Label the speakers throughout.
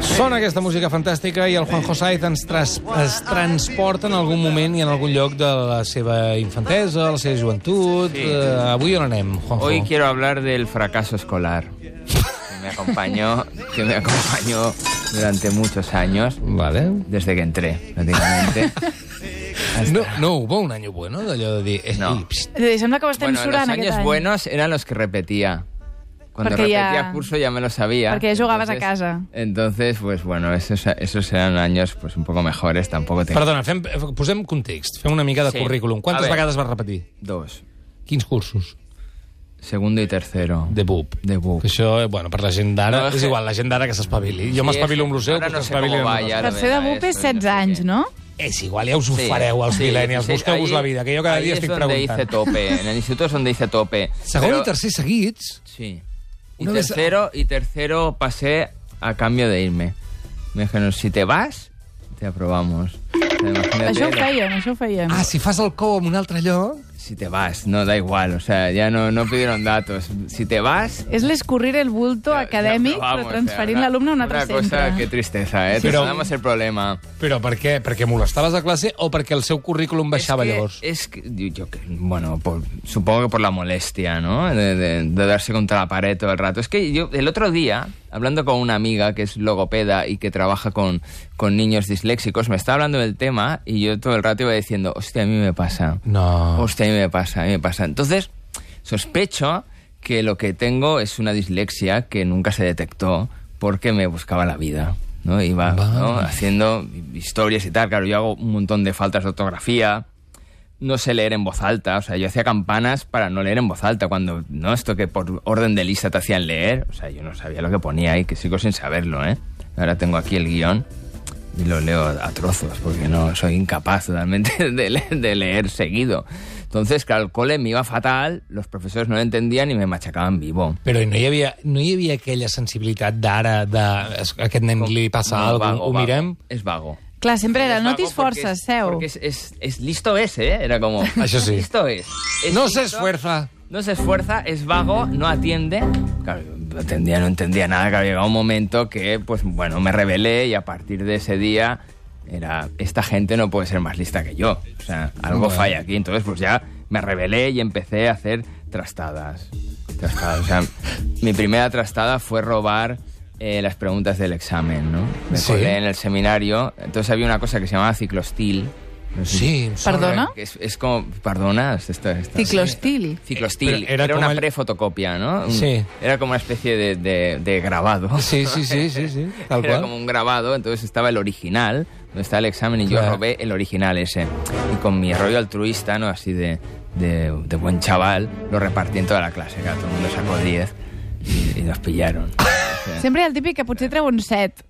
Speaker 1: Sona aquesta música fantàstica i el Juanjo Saiz ens tras es transporta en algun moment i en algun lloc de la seva infantesa, la seva joventut...
Speaker 2: Sí.
Speaker 1: Eh, avui on anem, Juanjo?
Speaker 2: Hoy quiero hablar del fracaso escolar que me acompañó, que me acompañó durante muchos años,
Speaker 1: Vale.
Speaker 2: desde que entré, prácticamente.
Speaker 1: No, no hubo un año bueno d'allò de dir... Eh,
Speaker 2: No.
Speaker 1: ei, psst,
Speaker 3: Eh, Sembla que ho estem
Speaker 2: Bueno, los
Speaker 3: surant
Speaker 2: años
Speaker 3: aquest any.
Speaker 2: buenos eran los que repetía. Cuando
Speaker 3: Porque ya-
Speaker 2: repetía curso ya me lo sabía.
Speaker 3: Porque ya jugabas a
Speaker 2: Entonces-
Speaker 3: casa.
Speaker 2: Entonces, pues bueno, esos, esos eran años pues un poco mejores, tampoco tengo
Speaker 1: Perdona, fem, posem context, fem una mica de
Speaker 2: Sí.
Speaker 1: currículum.
Speaker 2: A
Speaker 1: Quantes
Speaker 2: veure.
Speaker 1: vegades vas repetir?
Speaker 2: dos.
Speaker 1: Quins cursos?
Speaker 2: Segundo y tercero.
Speaker 1: De BUP.
Speaker 2: De BUP.
Speaker 1: Que això, eh, bueno, per la gent d'ara...
Speaker 2: No,
Speaker 1: és
Speaker 2: és que-
Speaker 1: igual, la gent d'ara que s'espavili.
Speaker 2: Sí,
Speaker 1: Jo m'espavilo
Speaker 2: és-
Speaker 1: amb lo seu,
Speaker 2: ara
Speaker 1: però
Speaker 2: no sé
Speaker 1: s'espavilin
Speaker 2: com
Speaker 1: amb
Speaker 2: va,
Speaker 1: lo
Speaker 2: ja.
Speaker 1: seu.
Speaker 3: Tercer de
Speaker 2: Maestro,
Speaker 3: BUP és
Speaker 2: no sé
Speaker 3: 16
Speaker 2: qué.
Speaker 3: anys, no?
Speaker 1: És igual, ja us ho
Speaker 2: Sí,
Speaker 1: fareu, els
Speaker 2: sí,
Speaker 1: millennials.
Speaker 2: sí,
Speaker 1: Busqueu-vos
Speaker 2: ahí-
Speaker 1: la vida, que jo cada
Speaker 2: ahí
Speaker 1: dia
Speaker 2: es
Speaker 1: estic
Speaker 2: donde hice
Speaker 1: preguntant.
Speaker 2: tope. En el instituto es donde hice tope.
Speaker 1: Segon
Speaker 2: Pero-
Speaker 1: i tercer seguits...
Speaker 2: Sí. Y
Speaker 1: Una vez-
Speaker 2: tercero, y tercero pasé a cambio de irme. Me dijeron, si te vas, te aprobamos. O sea, imagínate,
Speaker 3: Això ho feien, això ho feien.
Speaker 1: Ah, si fas el cou en un altre lloc...
Speaker 2: Si te vas, no, da igual. O sea, ya no, no pidieron datos. Si te vas...
Speaker 3: És l'escurrir el bulto
Speaker 2: te-
Speaker 3: acadèmic,
Speaker 2: te aprobamos.
Speaker 3: però
Speaker 2: O sea,
Speaker 3: transferint
Speaker 2: una-
Speaker 3: l'alumne a un altre
Speaker 2: Una cosa, qué
Speaker 3: centre.
Speaker 2: tristeza, ¿eh?
Speaker 1: Pero-
Speaker 2: Pero... Te el problema.
Speaker 1: Però per què? Perquè molestaves a classe o perquè el seu currículum baixava
Speaker 2: es que,
Speaker 1: llavors?
Speaker 2: Es que, yo- yo que- bueno, por- supongo que por la molestia, ¿no? De, de- de darse contra la pared todo el rato. Es que yo el otro día, hablando con una amiga que es logopeda y que trabaja con, con niños disléxicos, me estaba hablando del tema y yo todo el rato iba diciendo, hostia, a mí me pasa.
Speaker 1: No.
Speaker 2: Hostia, a mí me pasa, a mí me pasa. Entonces, sospecho que lo que tengo es una dislexia que nunca se detectó porque me buscaba la vida. ¿no? Iba
Speaker 1: Vale.
Speaker 2: Ah, ¿no? haciendo historias y tal. Claro, yo hago un montón de faltas de ortografía. No sé leer en voz alta. O sea, yo hacía campanas para no leer en voz alta. Cuando, ¿no? Esto que por orden de lista te hacían leer. O sea, yo no sabía lo que ponía ahí, que sigo sin saberlo, ¿eh? Ahora tengo aquí el guión. Y lo leo a trozos, porque no soy incapaz totalmente de, le- de leer seguido. Entonces, claro, el cole me iba fatal, los profesores no lo entendían y me machacaban vivo.
Speaker 1: Però no hi havia, no hi havia aquella sensibilitat d'ara, de "Es- a aquest nen li passa
Speaker 2: No,
Speaker 1: alguna cosa,
Speaker 2: vago,
Speaker 1: ho
Speaker 2: vago.
Speaker 1: mirem?
Speaker 2: Es vago.
Speaker 3: Clar, sempre era,
Speaker 2: Es
Speaker 3: no
Speaker 2: vago
Speaker 3: t'hi
Speaker 2: porque
Speaker 3: forces,
Speaker 2: es-
Speaker 3: seu.
Speaker 2: Porque es, es- es listo es, ¿eh? Era como...
Speaker 1: Eso sí.
Speaker 2: Listo es. Es
Speaker 1: No se
Speaker 2: listo,
Speaker 1: esfuerza.
Speaker 2: No se esfuerza, es vago, no atiende. Claro, no atendía, no entendía nada. Claro, llegaba un momento que, pues bueno, me rebelé y a partir de ese día era, esta gente no puede ser más lista que yo. O sea, algo
Speaker 1: Bueno.
Speaker 2: falla aquí. Entonces, pues ya me rebelé y empecé a hacer trastadas. Trastadas. O sea, mi primera trastada fue robar eh, las preguntas del examen, ¿no? Me
Speaker 1: Sí.
Speaker 2: colé en el seminario. Entonces había una cosa que se llamaba ciclostil. No sé si-
Speaker 1: Sí, em sona.
Speaker 3: Perdona?
Speaker 2: que Es, es como, perdona, esto, esto-
Speaker 3: Ciclostil.
Speaker 2: Ciclostil.
Speaker 1: Pero era
Speaker 2: Era, una
Speaker 1: como el-
Speaker 2: prefotocopia, ¿no? Un-
Speaker 1: Sí.
Speaker 2: Era como una especie de, de- de grabado.
Speaker 1: Sí, sí, sí, sí, sí, tal
Speaker 2: Era
Speaker 1: qual.
Speaker 2: como un grabado, entonces estaba el original, donde está el examen, y
Speaker 1: Claro.
Speaker 2: yo robé el original ese. Y con mi rollo altruista, ¿no? Así de, de- de buen chaval, lo repartí en toda la clase, claro, todo el mundo sacó 10 y, y nos pillaron.
Speaker 3: Sempre hi ha el típic que potser treu un 7.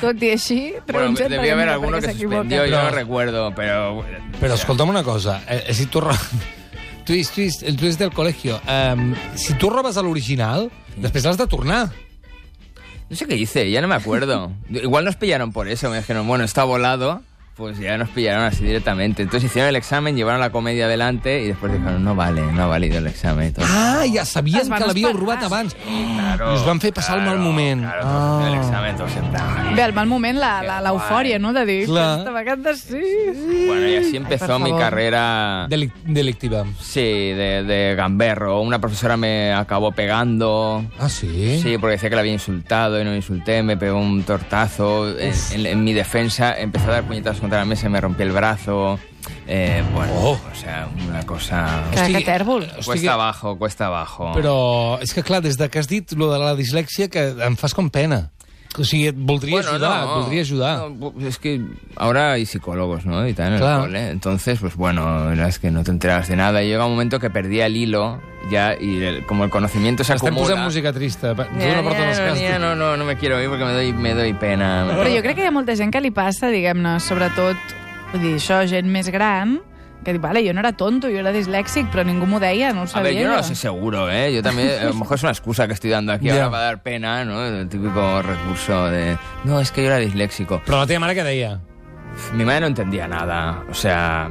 Speaker 3: Tot i així, treu
Speaker 2: Bueno,
Speaker 3: un 7
Speaker 2: debía haber alguno que suspendió, yo no
Speaker 1: Pero-
Speaker 2: recuerdo, pero...
Speaker 1: Però escolta'm una cosa, eh, si tu... ro- Tu és, tu és, tu és del col·legio. Um, si tu robes a l'original, després l'has de tornar.
Speaker 2: No sé qué hice, ya no me acuerdo. Igual nos pillaron por eso, me dijeron, bueno, está volado, pues ya nos pillaron así directamente. Entonces hicieron el examen, llevaron la comedia adelante y después dijeron, no vale, no ha valido el examen. y todo.
Speaker 1: Ah, ja
Speaker 3: Es
Speaker 1: sabien
Speaker 3: van
Speaker 1: que l'havíeu
Speaker 3: espantar.
Speaker 2: ah,
Speaker 1: robat abans.
Speaker 2: Claro,
Speaker 1: I us van fer passar el
Speaker 2: claro,
Speaker 1: mal moment.
Speaker 2: Claro,
Speaker 1: Ah.
Speaker 2: el examen todo sentado.
Speaker 3: Bé, el mal moment, la- la- l'eufòria, no?, de dir,
Speaker 1: Clar.
Speaker 3: aquesta vegada sí, sí.
Speaker 2: Bueno, y así
Speaker 3: Ay,
Speaker 2: empezó
Speaker 3: por
Speaker 2: mi
Speaker 3: favor.
Speaker 2: carrera...
Speaker 1: Delic delictiva.
Speaker 2: Sí, de, de gamberro. Una profesora me acabó pegando.
Speaker 1: Ah, sí?
Speaker 2: Sí, porque decía que la había insultado y no me insulté, me pegó un tortazo. En, en- en mi defensa empecé a dar puñetazos contra la mesa y me rompí el brazo. Eh, bueno,
Speaker 1: Oh.
Speaker 2: o sea, una cosa...
Speaker 3: Que,
Speaker 1: Hosti,
Speaker 3: que tèrbol.
Speaker 1: hosti,
Speaker 2: Cuesta
Speaker 1: que-
Speaker 2: abajo, cuesta abajo.
Speaker 1: Però és que, clar, des de que has dit lo de la dislèxia, que em fas com pena. O sigui, et voldria
Speaker 2: Bueno,
Speaker 1: ajudar,
Speaker 2: no.
Speaker 1: et voldria ajudar.
Speaker 2: No, pues es que ahora hay psicólogos, ¿no? Y tal, en el
Speaker 1: Claro.
Speaker 2: cole. Entonces, pues bueno, la verdad es que no te enteras de nada. Y llega un momento que perdía el hilo ya y el- como el conocimiento se
Speaker 1: Estem
Speaker 2: acumula...
Speaker 1: posant música trista. Tu
Speaker 2: Ya,
Speaker 1: no portes les
Speaker 2: ya,
Speaker 1: castes.
Speaker 2: ya, no, no, no me quiero ir porque me doy, me doy pena.
Speaker 3: Però jo crec que hi ha molta gent que li passa, diguem-ne, sobretot, vull dir, això, gent més gran, que diu, vale, jo no era tonto, jo era dislèxic, però ningú m'ho deia, no ho
Speaker 2: A
Speaker 3: sabia.
Speaker 2: ver, yo no lo sé seguro, ¿eh? Yo también, a lo mejor es una excusa que estoy dando aquí
Speaker 1: Ya.
Speaker 2: ahora para dar pena, ¿no? El típico recurso de, no, es que yo era disléxico.
Speaker 1: Però la teva mare què deia?
Speaker 2: Mi madre no entendía nada, o sea,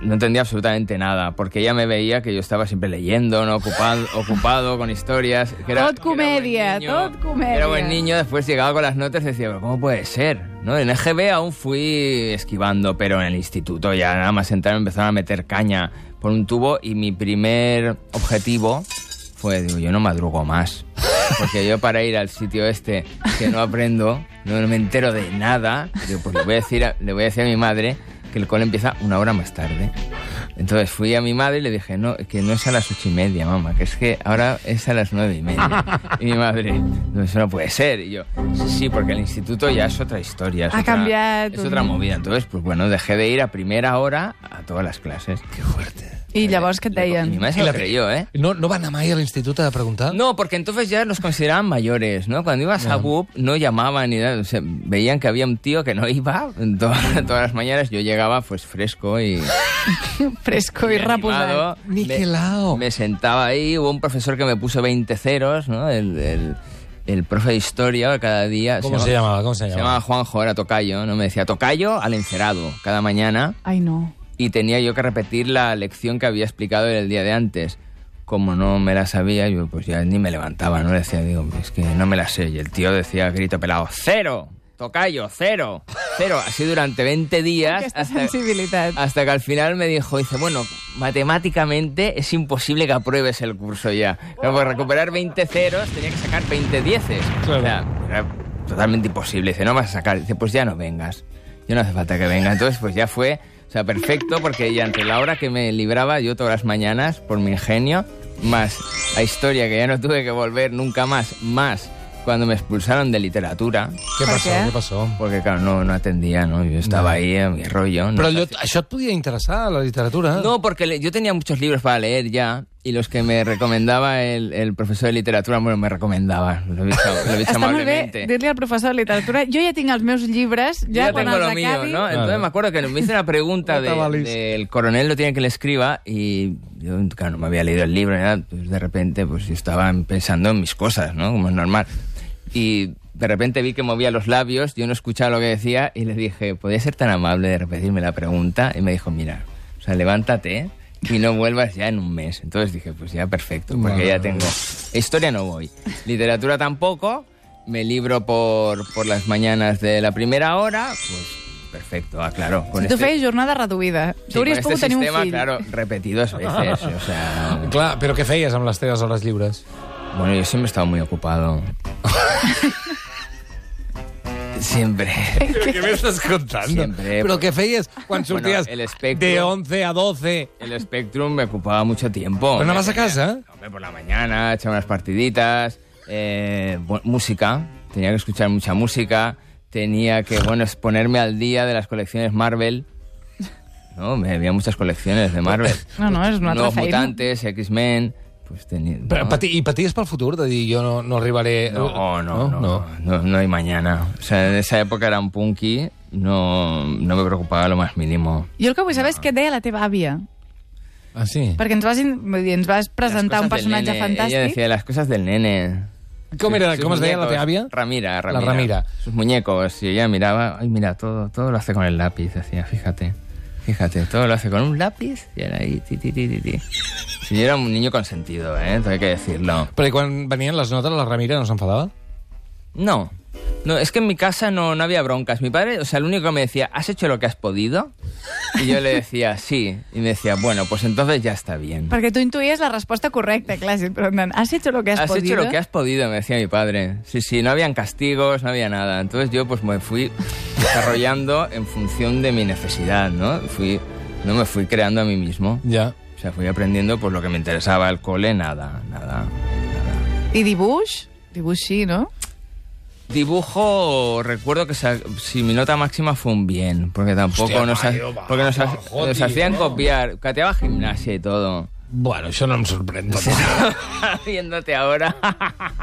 Speaker 2: no entendía absolutamente nada, porque ella me veía que yo estaba siempre leyendo, ¿no? ocupado, ocupado con historias. Que era,
Speaker 3: Tot comedia,
Speaker 2: que era buen niño,
Speaker 3: tot comedia.
Speaker 2: Era buen niño, después llegaba con las notas y decía, pero ¿cómo puede ser? ¿No? En EGB aún fui esquivando, pero en el instituto ya nada más entrar me empezaron a meter caña por un tubo y mi primer objetivo fue, digo, yo no madrugo más. Porque yo para ir al sitio este que no aprendo, no me entero de nada, digo, pues le voy a decir a, le voy a, decir a mi madre que el cole empieza una hora más tarde. Entonces fui a mi madre y le dije, no, que no es a las ocho y media, mamá, que es que ahora es a las nueve y media. Y mi madre, no, eso no puede ser. Y yo, sí, sí, porque el instituto ya es otra historia. Es
Speaker 3: Ha
Speaker 2: otra-
Speaker 3: cambiado.
Speaker 2: Es otra movida. Entonces, pues bueno, dejé de ir a primera hora a todas las clases.
Speaker 1: Que fuerte.
Speaker 3: I llavors què
Speaker 2: Y
Speaker 3: et
Speaker 2: mi
Speaker 3: deien?
Speaker 2: madre se
Speaker 1: I
Speaker 2: lo
Speaker 1: la-
Speaker 2: creyó, ¿eh?
Speaker 1: No, no va anar mai a l'institut a preguntar?
Speaker 2: No, porque entonces ya los consideraban mayores, ¿no? Cuando ibas a BUP no llamaban ni nada, o sea, veían que había un tío que no iba to- todas, las mañanas, yo llegaba pues fresco y...
Speaker 3: Fresco i reposat.
Speaker 2: animado. Me-
Speaker 1: Niquelao.
Speaker 2: Me sentaba ahí, hubo un profesor que me puso 20 ceros, ¿no? El, el- el profe de historia cada día...
Speaker 1: ¿Cómo se llamaba? ¿Cómo se
Speaker 2: Se
Speaker 1: llamaba?
Speaker 2: llamaba Juanjo, era tocayo, ¿no? Me decía tocayo al encerado cada mañana
Speaker 3: Ai, no.
Speaker 2: y tenía yo que repetir la lección que había explicado el día de antes. Como no me la sabía, yo pues ya ni me levantaba, ¿no? Le decía, digo, es que no me la sé. Y el tío decía, a grito pelado, cero, tocayo, cero, cero. Así durante 20 días
Speaker 3: Aquesta
Speaker 2: hasta,
Speaker 3: sensibilitat.
Speaker 2: hasta que al final me dijo, dice, bueno, matemáticamente es imposible que apruebes el curso ya. Claro, por recuperar 20 ceros tenía que sacar 20 dieces.
Speaker 1: Claro.
Speaker 2: O sea, era totalmente imposible. Dice, no vas a sacar. Dice, pues ya no vengas. Ya no hace falta que vengas. Entonces, pues ya fue, o sea, perfecto, porque ya entre la hora que me libraba yo todas las mañanas por mi ingenio, más la historia que ya no tuve que volver nunca más, más cuando me expulsaron de literatura,
Speaker 1: Què
Speaker 3: Per
Speaker 1: passó?
Speaker 3: què?
Speaker 1: Què passó?
Speaker 2: porque claro, no, no atendía, ¿no? Yo estaba ahí a mi rollo. no
Speaker 1: Però allò, això et podia interessar, la
Speaker 3: Ah.
Speaker 1: literatura?
Speaker 2: No, porque le- yo tenía muchos libros para leer ya y los que me recomendaba el, el profesor de literatura, bueno, me recomendaba, lo he dicho, lo he dicho
Speaker 3: Està molt bé
Speaker 2: amablemente.
Speaker 3: dir-li al professor de literatura jo ja tinc els meus llibres,
Speaker 2: Yo
Speaker 3: ja, quan
Speaker 2: tengo
Speaker 3: els
Speaker 2: lo mío,
Speaker 3: acabi...
Speaker 2: ¿no? Entonces
Speaker 1: Claro.
Speaker 2: me acuerdo que me hice una pregunta
Speaker 1: No te
Speaker 2: de- del
Speaker 1: valís.
Speaker 2: coronel, lo tiene que le escriba, y yo, claro, no me había leído el libro, ni nada, pues de repente, pues yo estaba pensando en mis cosas, ¿no? Como es normal. Y de repente vi que movía los labios, yo no escuchaba lo que decía, y le dije, ¿podría ser tan amable de repetirme la pregunta? Y me dijo, mira, o sea, levántate y no vuelvas ya en un mes. Entonces dije, pues ya perfecto, porque
Speaker 1: Vale.
Speaker 2: ya tengo. Historia no voy, literatura tampoco, me libro por, por las mañanas de la primera hora, pues perfecto, ah, claro. Con
Speaker 3: Si tu feies jornada reduïda,
Speaker 2: sí,
Speaker 3: tu hauries
Speaker 2: con
Speaker 3: pogut
Speaker 2: este
Speaker 3: tenir un
Speaker 2: sistema,
Speaker 3: fill.
Speaker 2: claro, repetidos veces, o sea...
Speaker 1: Clar, però què feies amb les teves hores lliures?
Speaker 2: Bueno, yo siempre he estado muy ocupado. siempre.
Speaker 1: ¿Qué me estás contando?
Speaker 2: Siempre. pues.
Speaker 1: Pero que feies cuando
Speaker 2: Bueno,
Speaker 1: surtías
Speaker 2: el espectro.
Speaker 1: de 11 a 12.
Speaker 2: El Spectrum me ocupaba mucho tiempo.
Speaker 1: Però
Speaker 2: no
Speaker 1: anaves a casa?
Speaker 2: Hombre, por la mañana, echaba unas partiditas, eh, bu- música, tenía que escuchar mucha música, tenía que, bueno, es ponerme al día de las colecciones Marvel. No, me había muchas colecciones de Marvel.
Speaker 3: No, no, és una altra
Speaker 2: Nuevos
Speaker 3: feina.
Speaker 2: Mutantes, X-Men, pues tenía...
Speaker 1: Però,
Speaker 2: no.
Speaker 1: pati, I paties pel futur, de dir, jo no, no arribaré...
Speaker 2: No, Oh, no, no, no, no, hay mañana. O sea, en esa época era un punky, no, no me preocupaba lo más mínimo.
Speaker 3: Jo el que vull saber és què et deia la teva àvia.
Speaker 1: Ah, sí?
Speaker 3: Perquè ens vas, in- vull dir, ens vas presentar
Speaker 2: Las
Speaker 3: un
Speaker 2: cosas del
Speaker 3: personatge
Speaker 2: nene.
Speaker 3: fantàstic.
Speaker 2: Ella decía las cosas del nene.
Speaker 1: Com, era,
Speaker 2: Sus
Speaker 1: com es deia la
Speaker 2: muñecos.
Speaker 1: teva àvia?
Speaker 2: Ramira,
Speaker 1: La
Speaker 2: Ramira.
Speaker 1: Ramira.
Speaker 2: Sus muñecos. Y ella miraba, ay, mira, todo, todo lo hace con el lápiz, decía, fíjate. Fíjate, todo lo hace con un lápiz y era ahí, ti, ti, ti, ti, ti. Si yo era un niño consentido, ¿eh? Todo hay que decirlo.
Speaker 1: Però i quan venien les notes, la Ramira no s'enfadava?
Speaker 2: No. No, es que en mi casa no, no había broncas. Mi padre, o sea, el único que me decía, ¿has hecho lo que has podido? Y yo le decía, sí. Y me decía, bueno, pues entonces ya está bien.
Speaker 3: Perquè tu intuïes la resposta correcta, clar, si et pregunten has hecho lo que has,
Speaker 2: Has
Speaker 3: podido?
Speaker 2: hecho lo que has podido, me decía mi padre. Sí, sí, no habían castigos, no había nada. Entonces yo pues me fui desarrollando en función de mi necesidad, ¿no? Fui, no me fui creando a mí mismo.
Speaker 1: Ja.
Speaker 2: O sea, fui aprendiendo pues lo que me interesaba al cole, nada, nada.
Speaker 3: I dibuix? Dibuix sí, no?
Speaker 2: Dibujo, recuerdo que sa- si mi nota máxima fue un bien, porque tampoco
Speaker 1: Hostia,
Speaker 2: nos, ha-
Speaker 1: Mario, va,
Speaker 2: porque nos, ha-
Speaker 1: bajo,
Speaker 2: nos
Speaker 1: tío.
Speaker 2: hacían copiar, cateaba gimnasia y todo.
Speaker 1: Bueno, això no em sorprèn. Sí.
Speaker 2: Viéndote ahora.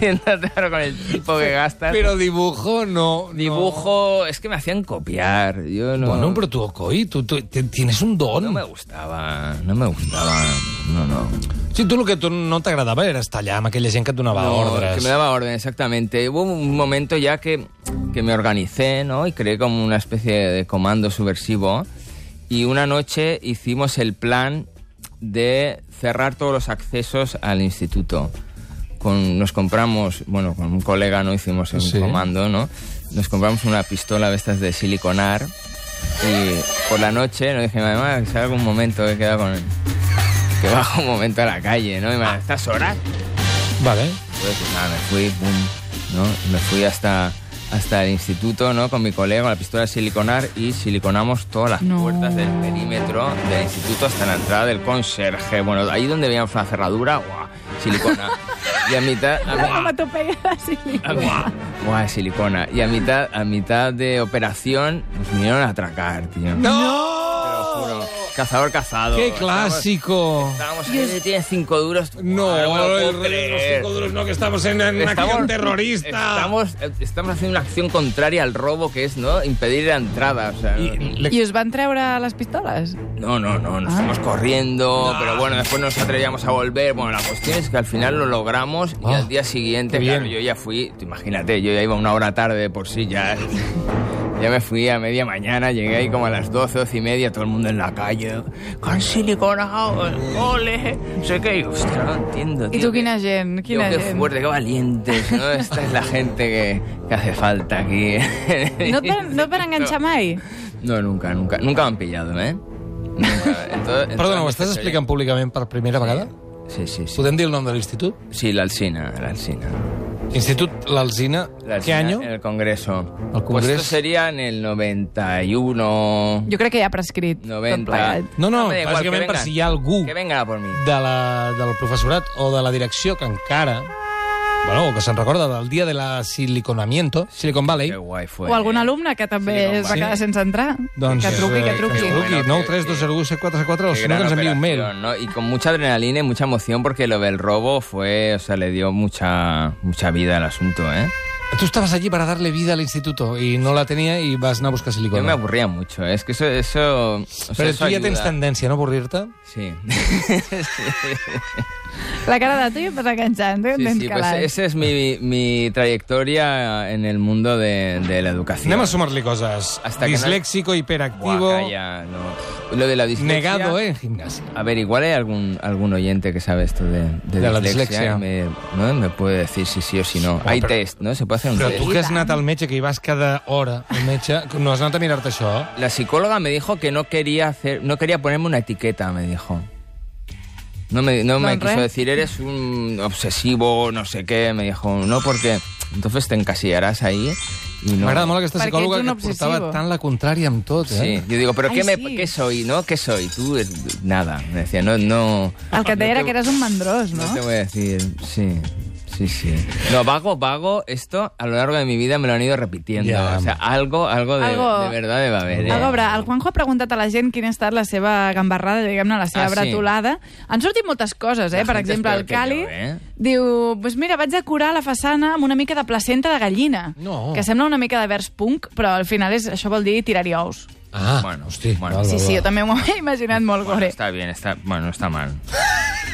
Speaker 2: Viéndote ahora con el tipo que gastas.
Speaker 1: Però dibujo no...
Speaker 2: Dibujo, es que me hacían copiar. Yo no,
Speaker 1: No. Bueno, però tu, coi, tu, tu te- tienes un don.
Speaker 2: no me gustaba, no me gustaba. No, no.
Speaker 1: Si tu el que tu no t'agradava era estar allà amb aquella gent que et donava
Speaker 2: No,
Speaker 1: ordres.
Speaker 2: Que me daba orden, exactamente. Hubo un momento ya que, que me organicé, ¿no? Y creé como una especie de comando subversivo. Y, y una noche hicimos el plan de cerrar todos los accesos al instituto. Con, nos compramos, bueno, con un colega no hicimos un
Speaker 1: Sí.
Speaker 2: comando, ¿no? Nos compramos una pistola de estas de siliconar y por la noche nos dije, mamá, que salga un momento, que queda con... Que bajo un momento a la calle, ¿no? Y me dijo, "¿A estas horas?
Speaker 1: Vale.
Speaker 2: Entonces, pues, nada, me fui, pum, ¿no? Y Me fui hasta, hasta el instituto, ¿no? Con mi colega, con la pistola de siliconar y siliconamos todas las
Speaker 3: No.
Speaker 2: puertas del perímetro del instituto hasta la entrada del conserje. Bueno, ahí donde veíamos una cerradura, ¡guau! Silicona. Y a mitad... a-
Speaker 3: La onomatopeia de silicona.
Speaker 2: ¡guau! ¡Guau, silicona! Y a mitad, a mitad de operación nos vinieron a atracar, tío.
Speaker 1: ¡No!
Speaker 2: Juro. Cazador cazado.
Speaker 1: ¡Qué
Speaker 2: Estábamos-
Speaker 1: clásico!
Speaker 2: Estábamos ahí, tienes cinco duros.
Speaker 1: No,
Speaker 2: Guau, me lo puedo
Speaker 1: el rey de los
Speaker 2: creer.
Speaker 1: cinco duros no, que estamos en, en acción terrorista.
Speaker 2: Estamos, estamos haciendo una acción contraria al robo que es, ¿no? Impedir la entrada. O sea,
Speaker 1: I- le-
Speaker 3: I us van treure les pistoles?
Speaker 2: no, no, no, nos
Speaker 1: Ah.
Speaker 2: estamos corriendo, pero bueno, después nos atrevíamos a volver. Bueno, la cuestión es que al final lo logramos y
Speaker 1: Ah,
Speaker 2: al día siguiente,
Speaker 1: qué bien.
Speaker 2: claro, yo ya fui, tú imagínate, yo ya iba una hora tarde de por sí, ya, ya me fui a media mañana, llegué ahí como a las 12, 12 y media, todo el mundo en la calle, con siliconado, ole, no sé qué, y, hostia, no lo entiendo.
Speaker 3: I
Speaker 2: tío,
Speaker 3: tu
Speaker 2: que-
Speaker 3: quina gent, quina
Speaker 2: Digo, qué
Speaker 3: gent.
Speaker 2: fuerte, qué valientes, ¿no? Esta es la gente que, que hace falta aquí.
Speaker 3: No et, van, no et van enganxar mai?
Speaker 2: No, nunca, nunca. Nunca me han pillado, ¿eh? Nunca. eh. En todo- en toda
Speaker 1: Perdona,
Speaker 2: mi
Speaker 1: ho estàs
Speaker 2: fecha
Speaker 1: explicant públicament per primera vegada?
Speaker 2: ya- Sí, sí, sí.
Speaker 1: Podem dir el nom de l'institut?
Speaker 2: Sí, la Alsina, la Alsina.
Speaker 1: Institut L'Alzina.
Speaker 2: La
Speaker 1: Què
Speaker 2: Alsina
Speaker 1: any?
Speaker 2: En el Congreso.
Speaker 1: Al
Speaker 2: Pues esto
Speaker 1: Congreso.
Speaker 2: sería en el 91...
Speaker 3: Jo crec que ja ha prescrit
Speaker 2: 90.
Speaker 3: tot plegat.
Speaker 1: No, no,
Speaker 2: me da igual,
Speaker 1: bàsicament
Speaker 2: que
Speaker 1: per
Speaker 2: vengan.
Speaker 1: si hi ha algú
Speaker 2: Que vengan a por mí.
Speaker 1: de la, del professorat o de la direcció que encara... Bueno, o que se'n recorda del dia de la siliconamiento, Silicon Valley,
Speaker 2: Qué guay fue.
Speaker 3: O algun alumne que també
Speaker 2: Sí,
Speaker 3: es va
Speaker 2: sí.
Speaker 3: quedar sense entrar.
Speaker 1: doncs...
Speaker 3: que truqui,
Speaker 1: eh,
Speaker 3: que truqui.
Speaker 1: Que ens truqui,
Speaker 2: Bueno,
Speaker 1: 9
Speaker 2: que-
Speaker 1: 3 2 0 1 4 4 o
Speaker 2: Qué
Speaker 1: si no, que
Speaker 2: gran
Speaker 1: ens enviï un mail.
Speaker 2: operación, ¿no? Y con mucha adrenalina y mucha emoción porque lo del robo fue, o sea, le dio mucha mucha vida al asunto, ¿eh?
Speaker 1: Tú estabas allí para darle vida al instituto y no la tenía y vas anar a buscar silicona.
Speaker 2: Yo me aburría mucho, ¿eh? es que eso eso o sea,
Speaker 1: Però
Speaker 2: eso
Speaker 1: tu ja
Speaker 2: ayuda.
Speaker 1: tens tendència a no aburrir-te?
Speaker 2: Sí.
Speaker 3: La cara de tu ja et vas enganxant, tu ja
Speaker 2: sí,
Speaker 3: en
Speaker 2: sí,
Speaker 3: tens
Speaker 2: pues
Speaker 3: calat.
Speaker 2: esa es mi, mi trayectoria en el mundo de, de la educación.
Speaker 1: Anem a sumar-li coses.
Speaker 2: Hasta que no-
Speaker 1: Disléxico,
Speaker 2: Buah,
Speaker 1: hiperactivo,
Speaker 2: calla, no. Lo de la dislexia.
Speaker 1: negado eh, en gimnasia.
Speaker 2: A ver, igual hay algún, algún oyente que sabe esto de, de,
Speaker 1: De la dislexia.
Speaker 2: dislexia. y Me, ¿no? me puede decir si sí o si no. hay test, ¿no? Se puede hacer un
Speaker 1: Però
Speaker 2: test.
Speaker 1: tu que has anat al metge, que hi vas cada hora, al metge, no has anat a mirar-te això?
Speaker 2: La psicóloga me dijo que no quería hacer, no quería ponerme una etiqueta, me dijo. No me, no me
Speaker 3: Don
Speaker 2: quiso
Speaker 3: Re.
Speaker 2: decir, eres un obsesivo, no sé qué. Me dijo, no, porque entonces te encasillarás ahí. Y no.
Speaker 1: M'agrada molt aquesta
Speaker 3: Perquè
Speaker 1: psicòloga
Speaker 3: ets
Speaker 1: que
Speaker 3: un
Speaker 1: portava
Speaker 3: obsessivo.
Speaker 1: tant la contrària amb tot,
Speaker 2: Sí,
Speaker 1: eh?
Speaker 2: yo digo, ¿pero
Speaker 3: Ay,
Speaker 2: qué, me,
Speaker 3: sí.
Speaker 2: qué soy? ¿No? ¿Qué soy? Tú, eh, nada. Me decía, no, no.
Speaker 3: El que et
Speaker 2: no
Speaker 3: deia era que eres un mandrós, no?
Speaker 2: No te voy a decir, sí. Sí, sí. No, vago, vago, esto a lo largo de mi vida me lo han ido repitiendo.
Speaker 1: Ya.
Speaker 2: O sea, algo, algo de,
Speaker 3: Algo-
Speaker 2: de verdad debe haber. ¿eh?
Speaker 3: A veure, el Juanjo ha preguntat a la gent quina ha estat la seva gambarrada, diguem-ne, la seva
Speaker 2: Ah, sí.
Speaker 3: bretolada. Han sortit moltes coses, eh?
Speaker 2: La
Speaker 3: per
Speaker 2: gent és
Speaker 3: exemple,
Speaker 2: peor
Speaker 3: el
Speaker 2: que
Speaker 3: Cali
Speaker 2: jo, eh?
Speaker 3: diu... Pues mira, vaig decorar la façana amb una mica de placenta de gallina,
Speaker 1: No.
Speaker 3: que sembla una mica de vers punk, però al final és, això vol dir tirar-hi ous.
Speaker 1: Ah,
Speaker 2: Bueno,
Speaker 1: hosti.
Speaker 2: bueno.
Speaker 1: val,
Speaker 3: Sí, sí,
Speaker 1: val,
Speaker 3: jo també m'ho he imaginat molt
Speaker 2: Bueno,
Speaker 3: gore.
Speaker 2: está bien, está, bueno, está mal.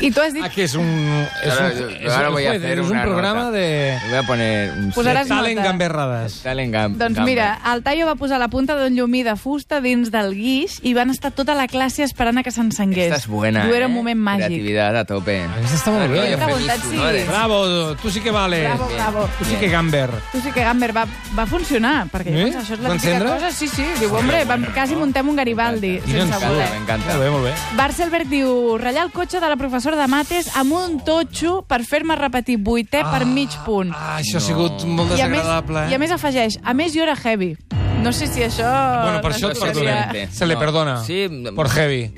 Speaker 3: I tu has
Speaker 1: val. Ah,
Speaker 3: dit...
Speaker 1: que és un... És
Speaker 2: Ahora,
Speaker 1: un,
Speaker 2: yo-
Speaker 1: és
Speaker 2: ahora
Speaker 1: un,
Speaker 2: voy a
Speaker 1: és
Speaker 2: hacer
Speaker 1: un
Speaker 2: una
Speaker 1: programa
Speaker 2: nota.
Speaker 1: de...
Speaker 2: Voy a poner un
Speaker 3: Posaràs
Speaker 2: set.
Speaker 1: Talent
Speaker 3: nota.
Speaker 1: gamberrades.
Speaker 2: Talent Gam-
Speaker 3: Doncs
Speaker 2: Gambert.
Speaker 3: Pues mira, el Tallo va posar la punta d'un llumí de fusta dins del guix i van estar tota la clase esperant a que s'encengués.
Speaker 2: Esta es buena.
Speaker 3: Tu era
Speaker 2: ¿eh?
Speaker 3: un moment màgic.
Speaker 2: Creatividad a tope.
Speaker 1: Esta está muy
Speaker 2: Ah,
Speaker 1: bien.
Speaker 2: yo
Speaker 1: Bravo,
Speaker 2: feliz,
Speaker 3: Tatsi.
Speaker 2: ¿no? De-
Speaker 1: Bravo, tu sí que vales.
Speaker 3: Bravo, bravo.
Speaker 1: Tu sí que gamber.
Speaker 3: Tu sí que Gamber va, va funcionar, perquè
Speaker 1: Eh?
Speaker 3: eh? això és la
Speaker 1: Va
Speaker 3: típica
Speaker 1: encendre?
Speaker 3: cosa. Sí, sí, diu, hombre, vam, quasi muntem un Garibaldi,
Speaker 1: Quina
Speaker 3: sense
Speaker 1: encanta,
Speaker 3: voler.
Speaker 2: Me encanta.
Speaker 1: Molt bé, molt bé.
Speaker 3: Barcelberg diu, ratllar el cotxe de la professora de mates amb un totxo per fer-me repetir vuitè per mig punt.
Speaker 1: Ah, això ha sigut molt
Speaker 3: I a, més,
Speaker 1: desagradable. eh?
Speaker 3: I a més afegeix, a més jo era heavy. No sé si això...
Speaker 1: Bueno, per això
Speaker 2: No
Speaker 1: et
Speaker 2: sé
Speaker 1: perdonem.
Speaker 2: evidente.
Speaker 1: Se le
Speaker 2: No.
Speaker 1: perdona.
Speaker 2: Sí,
Speaker 1: Por heavy.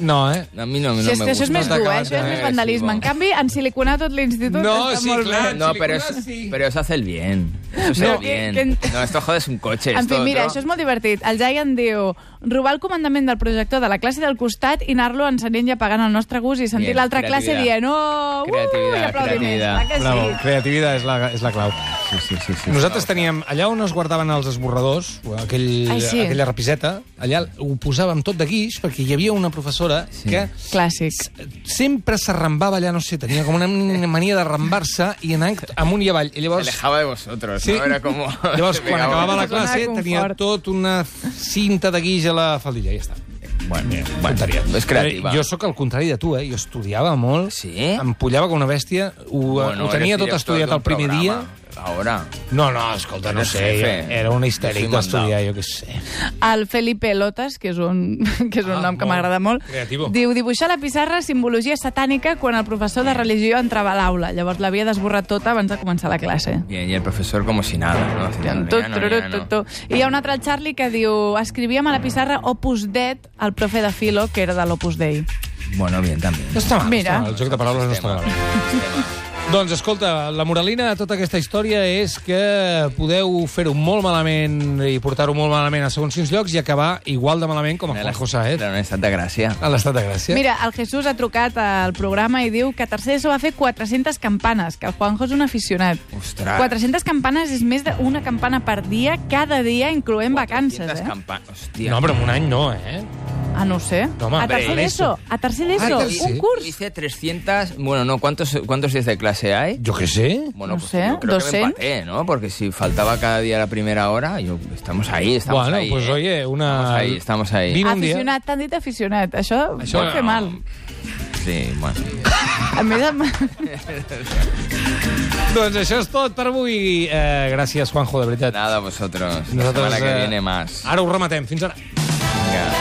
Speaker 1: No, eh?
Speaker 2: A mí no, no
Speaker 3: si és
Speaker 2: me
Speaker 3: que
Speaker 2: gusta.
Speaker 3: això és més
Speaker 1: No
Speaker 3: dur, eh?
Speaker 1: t'acabes
Speaker 3: això és
Speaker 1: de-
Speaker 3: més vandalisme. En canvi, en siliconar tot l'institut
Speaker 1: No,
Speaker 3: està
Speaker 1: sí,
Speaker 3: molt
Speaker 1: clar.
Speaker 3: bé.
Speaker 2: No, pero es,
Speaker 1: Chiliconas, sí.
Speaker 2: pero eso hace el bien. Eso se
Speaker 3: No,
Speaker 2: hace
Speaker 3: que-
Speaker 2: bien.
Speaker 3: que-
Speaker 2: No, esto jodes un coche.
Speaker 3: En
Speaker 2: esto
Speaker 3: fi, mira,
Speaker 2: otro-
Speaker 3: això és molt divertit. El Giant diu robar el comandament del projector de la classe del costat i anar-lo encenent i apagant el nostre gust i sentir
Speaker 2: Bien,
Speaker 3: l'altra classe
Speaker 2: creatividad.
Speaker 3: dient oh, uh, i
Speaker 2: Creatividad,
Speaker 3: aplaudiments.
Speaker 2: creatividad.
Speaker 3: Clar que
Speaker 1: Bravo,
Speaker 3: sí.
Speaker 1: creativitat és la, és la clau.
Speaker 2: Sí, sí, sí, sí.
Speaker 1: Nosaltres teníem, allà on es guardaven els esborradors, o aquell,
Speaker 3: Ai, sí.
Speaker 1: aquella repiseta, allà ho posàvem tot de guix, perquè hi havia una professora sí. que
Speaker 3: Clàssic.
Speaker 1: sempre s'arrambava allà, no sé, tenia com una mania d'arrambar-se i anar amunt i avall. I
Speaker 2: Se
Speaker 1: llavors
Speaker 2: alejaba de vosotros,
Speaker 1: Sí.
Speaker 2: ¿no? Era como...
Speaker 1: Llavors,
Speaker 2: se
Speaker 1: quan
Speaker 2: pegaba.
Speaker 1: acabava la
Speaker 3: Una zona de
Speaker 1: classe,
Speaker 3: confort.
Speaker 1: tenia tot una cinta de guix a la faldilla, ja està. Bueno,
Speaker 2: bueno,
Speaker 1: tonteria.
Speaker 2: és creativa.
Speaker 1: Eh, Jo sóc el contrari de tu, eh? Jo estudiava molt,
Speaker 2: Sí?
Speaker 1: em pullava com una bèstia, ho, bueno, ho tenia
Speaker 2: eres
Speaker 1: tot
Speaker 2: director
Speaker 1: estudiat
Speaker 2: d'un
Speaker 1: el primer dia...
Speaker 2: programa. Ahora.
Speaker 1: No, no, escolta, no
Speaker 2: Eres
Speaker 1: sé,
Speaker 2: jefe.
Speaker 1: era un
Speaker 2: Sí,
Speaker 1: histèric
Speaker 2: mandau.
Speaker 1: d'estudiar, jo què sé.
Speaker 3: El Felipe Lotas, que és un, que és un
Speaker 1: Ah,
Speaker 3: ah, nom que
Speaker 1: molt
Speaker 3: m'agrada molt,
Speaker 1: creativo.
Speaker 3: diu dibuixar a la pissarra simbologia satànica quan el professor de religió entrava a l'aula. Llavors l'havia d'esborrar tota abans de començar la clase.
Speaker 2: Y, y el profesor como si nada, ¿no? Haciendo,
Speaker 3: Tot,
Speaker 2: "Ya no,
Speaker 3: tururut,
Speaker 2: ya no".
Speaker 3: tot, tot. I hi ha un altre, el Charlie, que diu escrivíem a la pissarra Opus Det, el profe de Filo, que era de l'Opus Dei.
Speaker 2: Bueno, bien también.
Speaker 1: No està mal, no
Speaker 3: Mira.
Speaker 1: està mal. el joc de paraules no està malament. Doncs escolta, la moralina de tota aquesta història és que podeu fer-ho molt malament i portar-ho molt malament a segons quins llocs i acabar igual de malament com a
Speaker 2: Era
Speaker 1: Juanjo Saez
Speaker 2: Era un estat de gràcia.
Speaker 1: a l'estat de Gràcia.
Speaker 3: Mira, el Jesús ha trucat al programa i diu que tercer d'ESO va fer 400 campanes, que el Juanjo és un aficionat.
Speaker 2: Ostres.
Speaker 3: 400 campanes és més d'una campana per dia, cada dia, incloent vacances, eh?
Speaker 2: 400 campa- Hostia.
Speaker 1: No, però en un any no, eh?
Speaker 3: Ah, no ho sé.
Speaker 1: No, home,
Speaker 3: a tercer
Speaker 1: hombre,
Speaker 3: d'ESO,
Speaker 1: eso.
Speaker 3: a tercer
Speaker 1: Ah,
Speaker 3: d'ESO,
Speaker 1: tercer.
Speaker 3: un curs.
Speaker 2: Hice 300... Bueno, no, ¿cuántos, cuántos días de clase hay?
Speaker 1: Jo què sé.
Speaker 2: Bueno,
Speaker 3: No
Speaker 2: pues
Speaker 3: sé,
Speaker 2: yo creo que me
Speaker 3: 200.
Speaker 2: empaté, ¿no? Porque si faltaba cada día la primera hora, yo, estamos ahí, estamos
Speaker 1: Bueno,
Speaker 2: ahí.
Speaker 1: pues
Speaker 2: ¿eh?
Speaker 1: oye, una...
Speaker 2: Estamos ahí, estamos ahí.
Speaker 1: Vino un dia...
Speaker 3: Aficionat, t'han dit aficionat. Això, Això
Speaker 1: Això
Speaker 3: pot fer
Speaker 2: no.
Speaker 3: mal.
Speaker 2: Sí, bueno.
Speaker 3: A més, amb...
Speaker 1: Doncs això és tot per avui. Eh, gràcies, Juanjo, de veritat.
Speaker 2: Nada, vosotros. La
Speaker 1: Nosaltres,
Speaker 2: semana que
Speaker 1: eh,
Speaker 2: viene más.
Speaker 1: Ara ho rematem. Fins ara.
Speaker 2: Venga.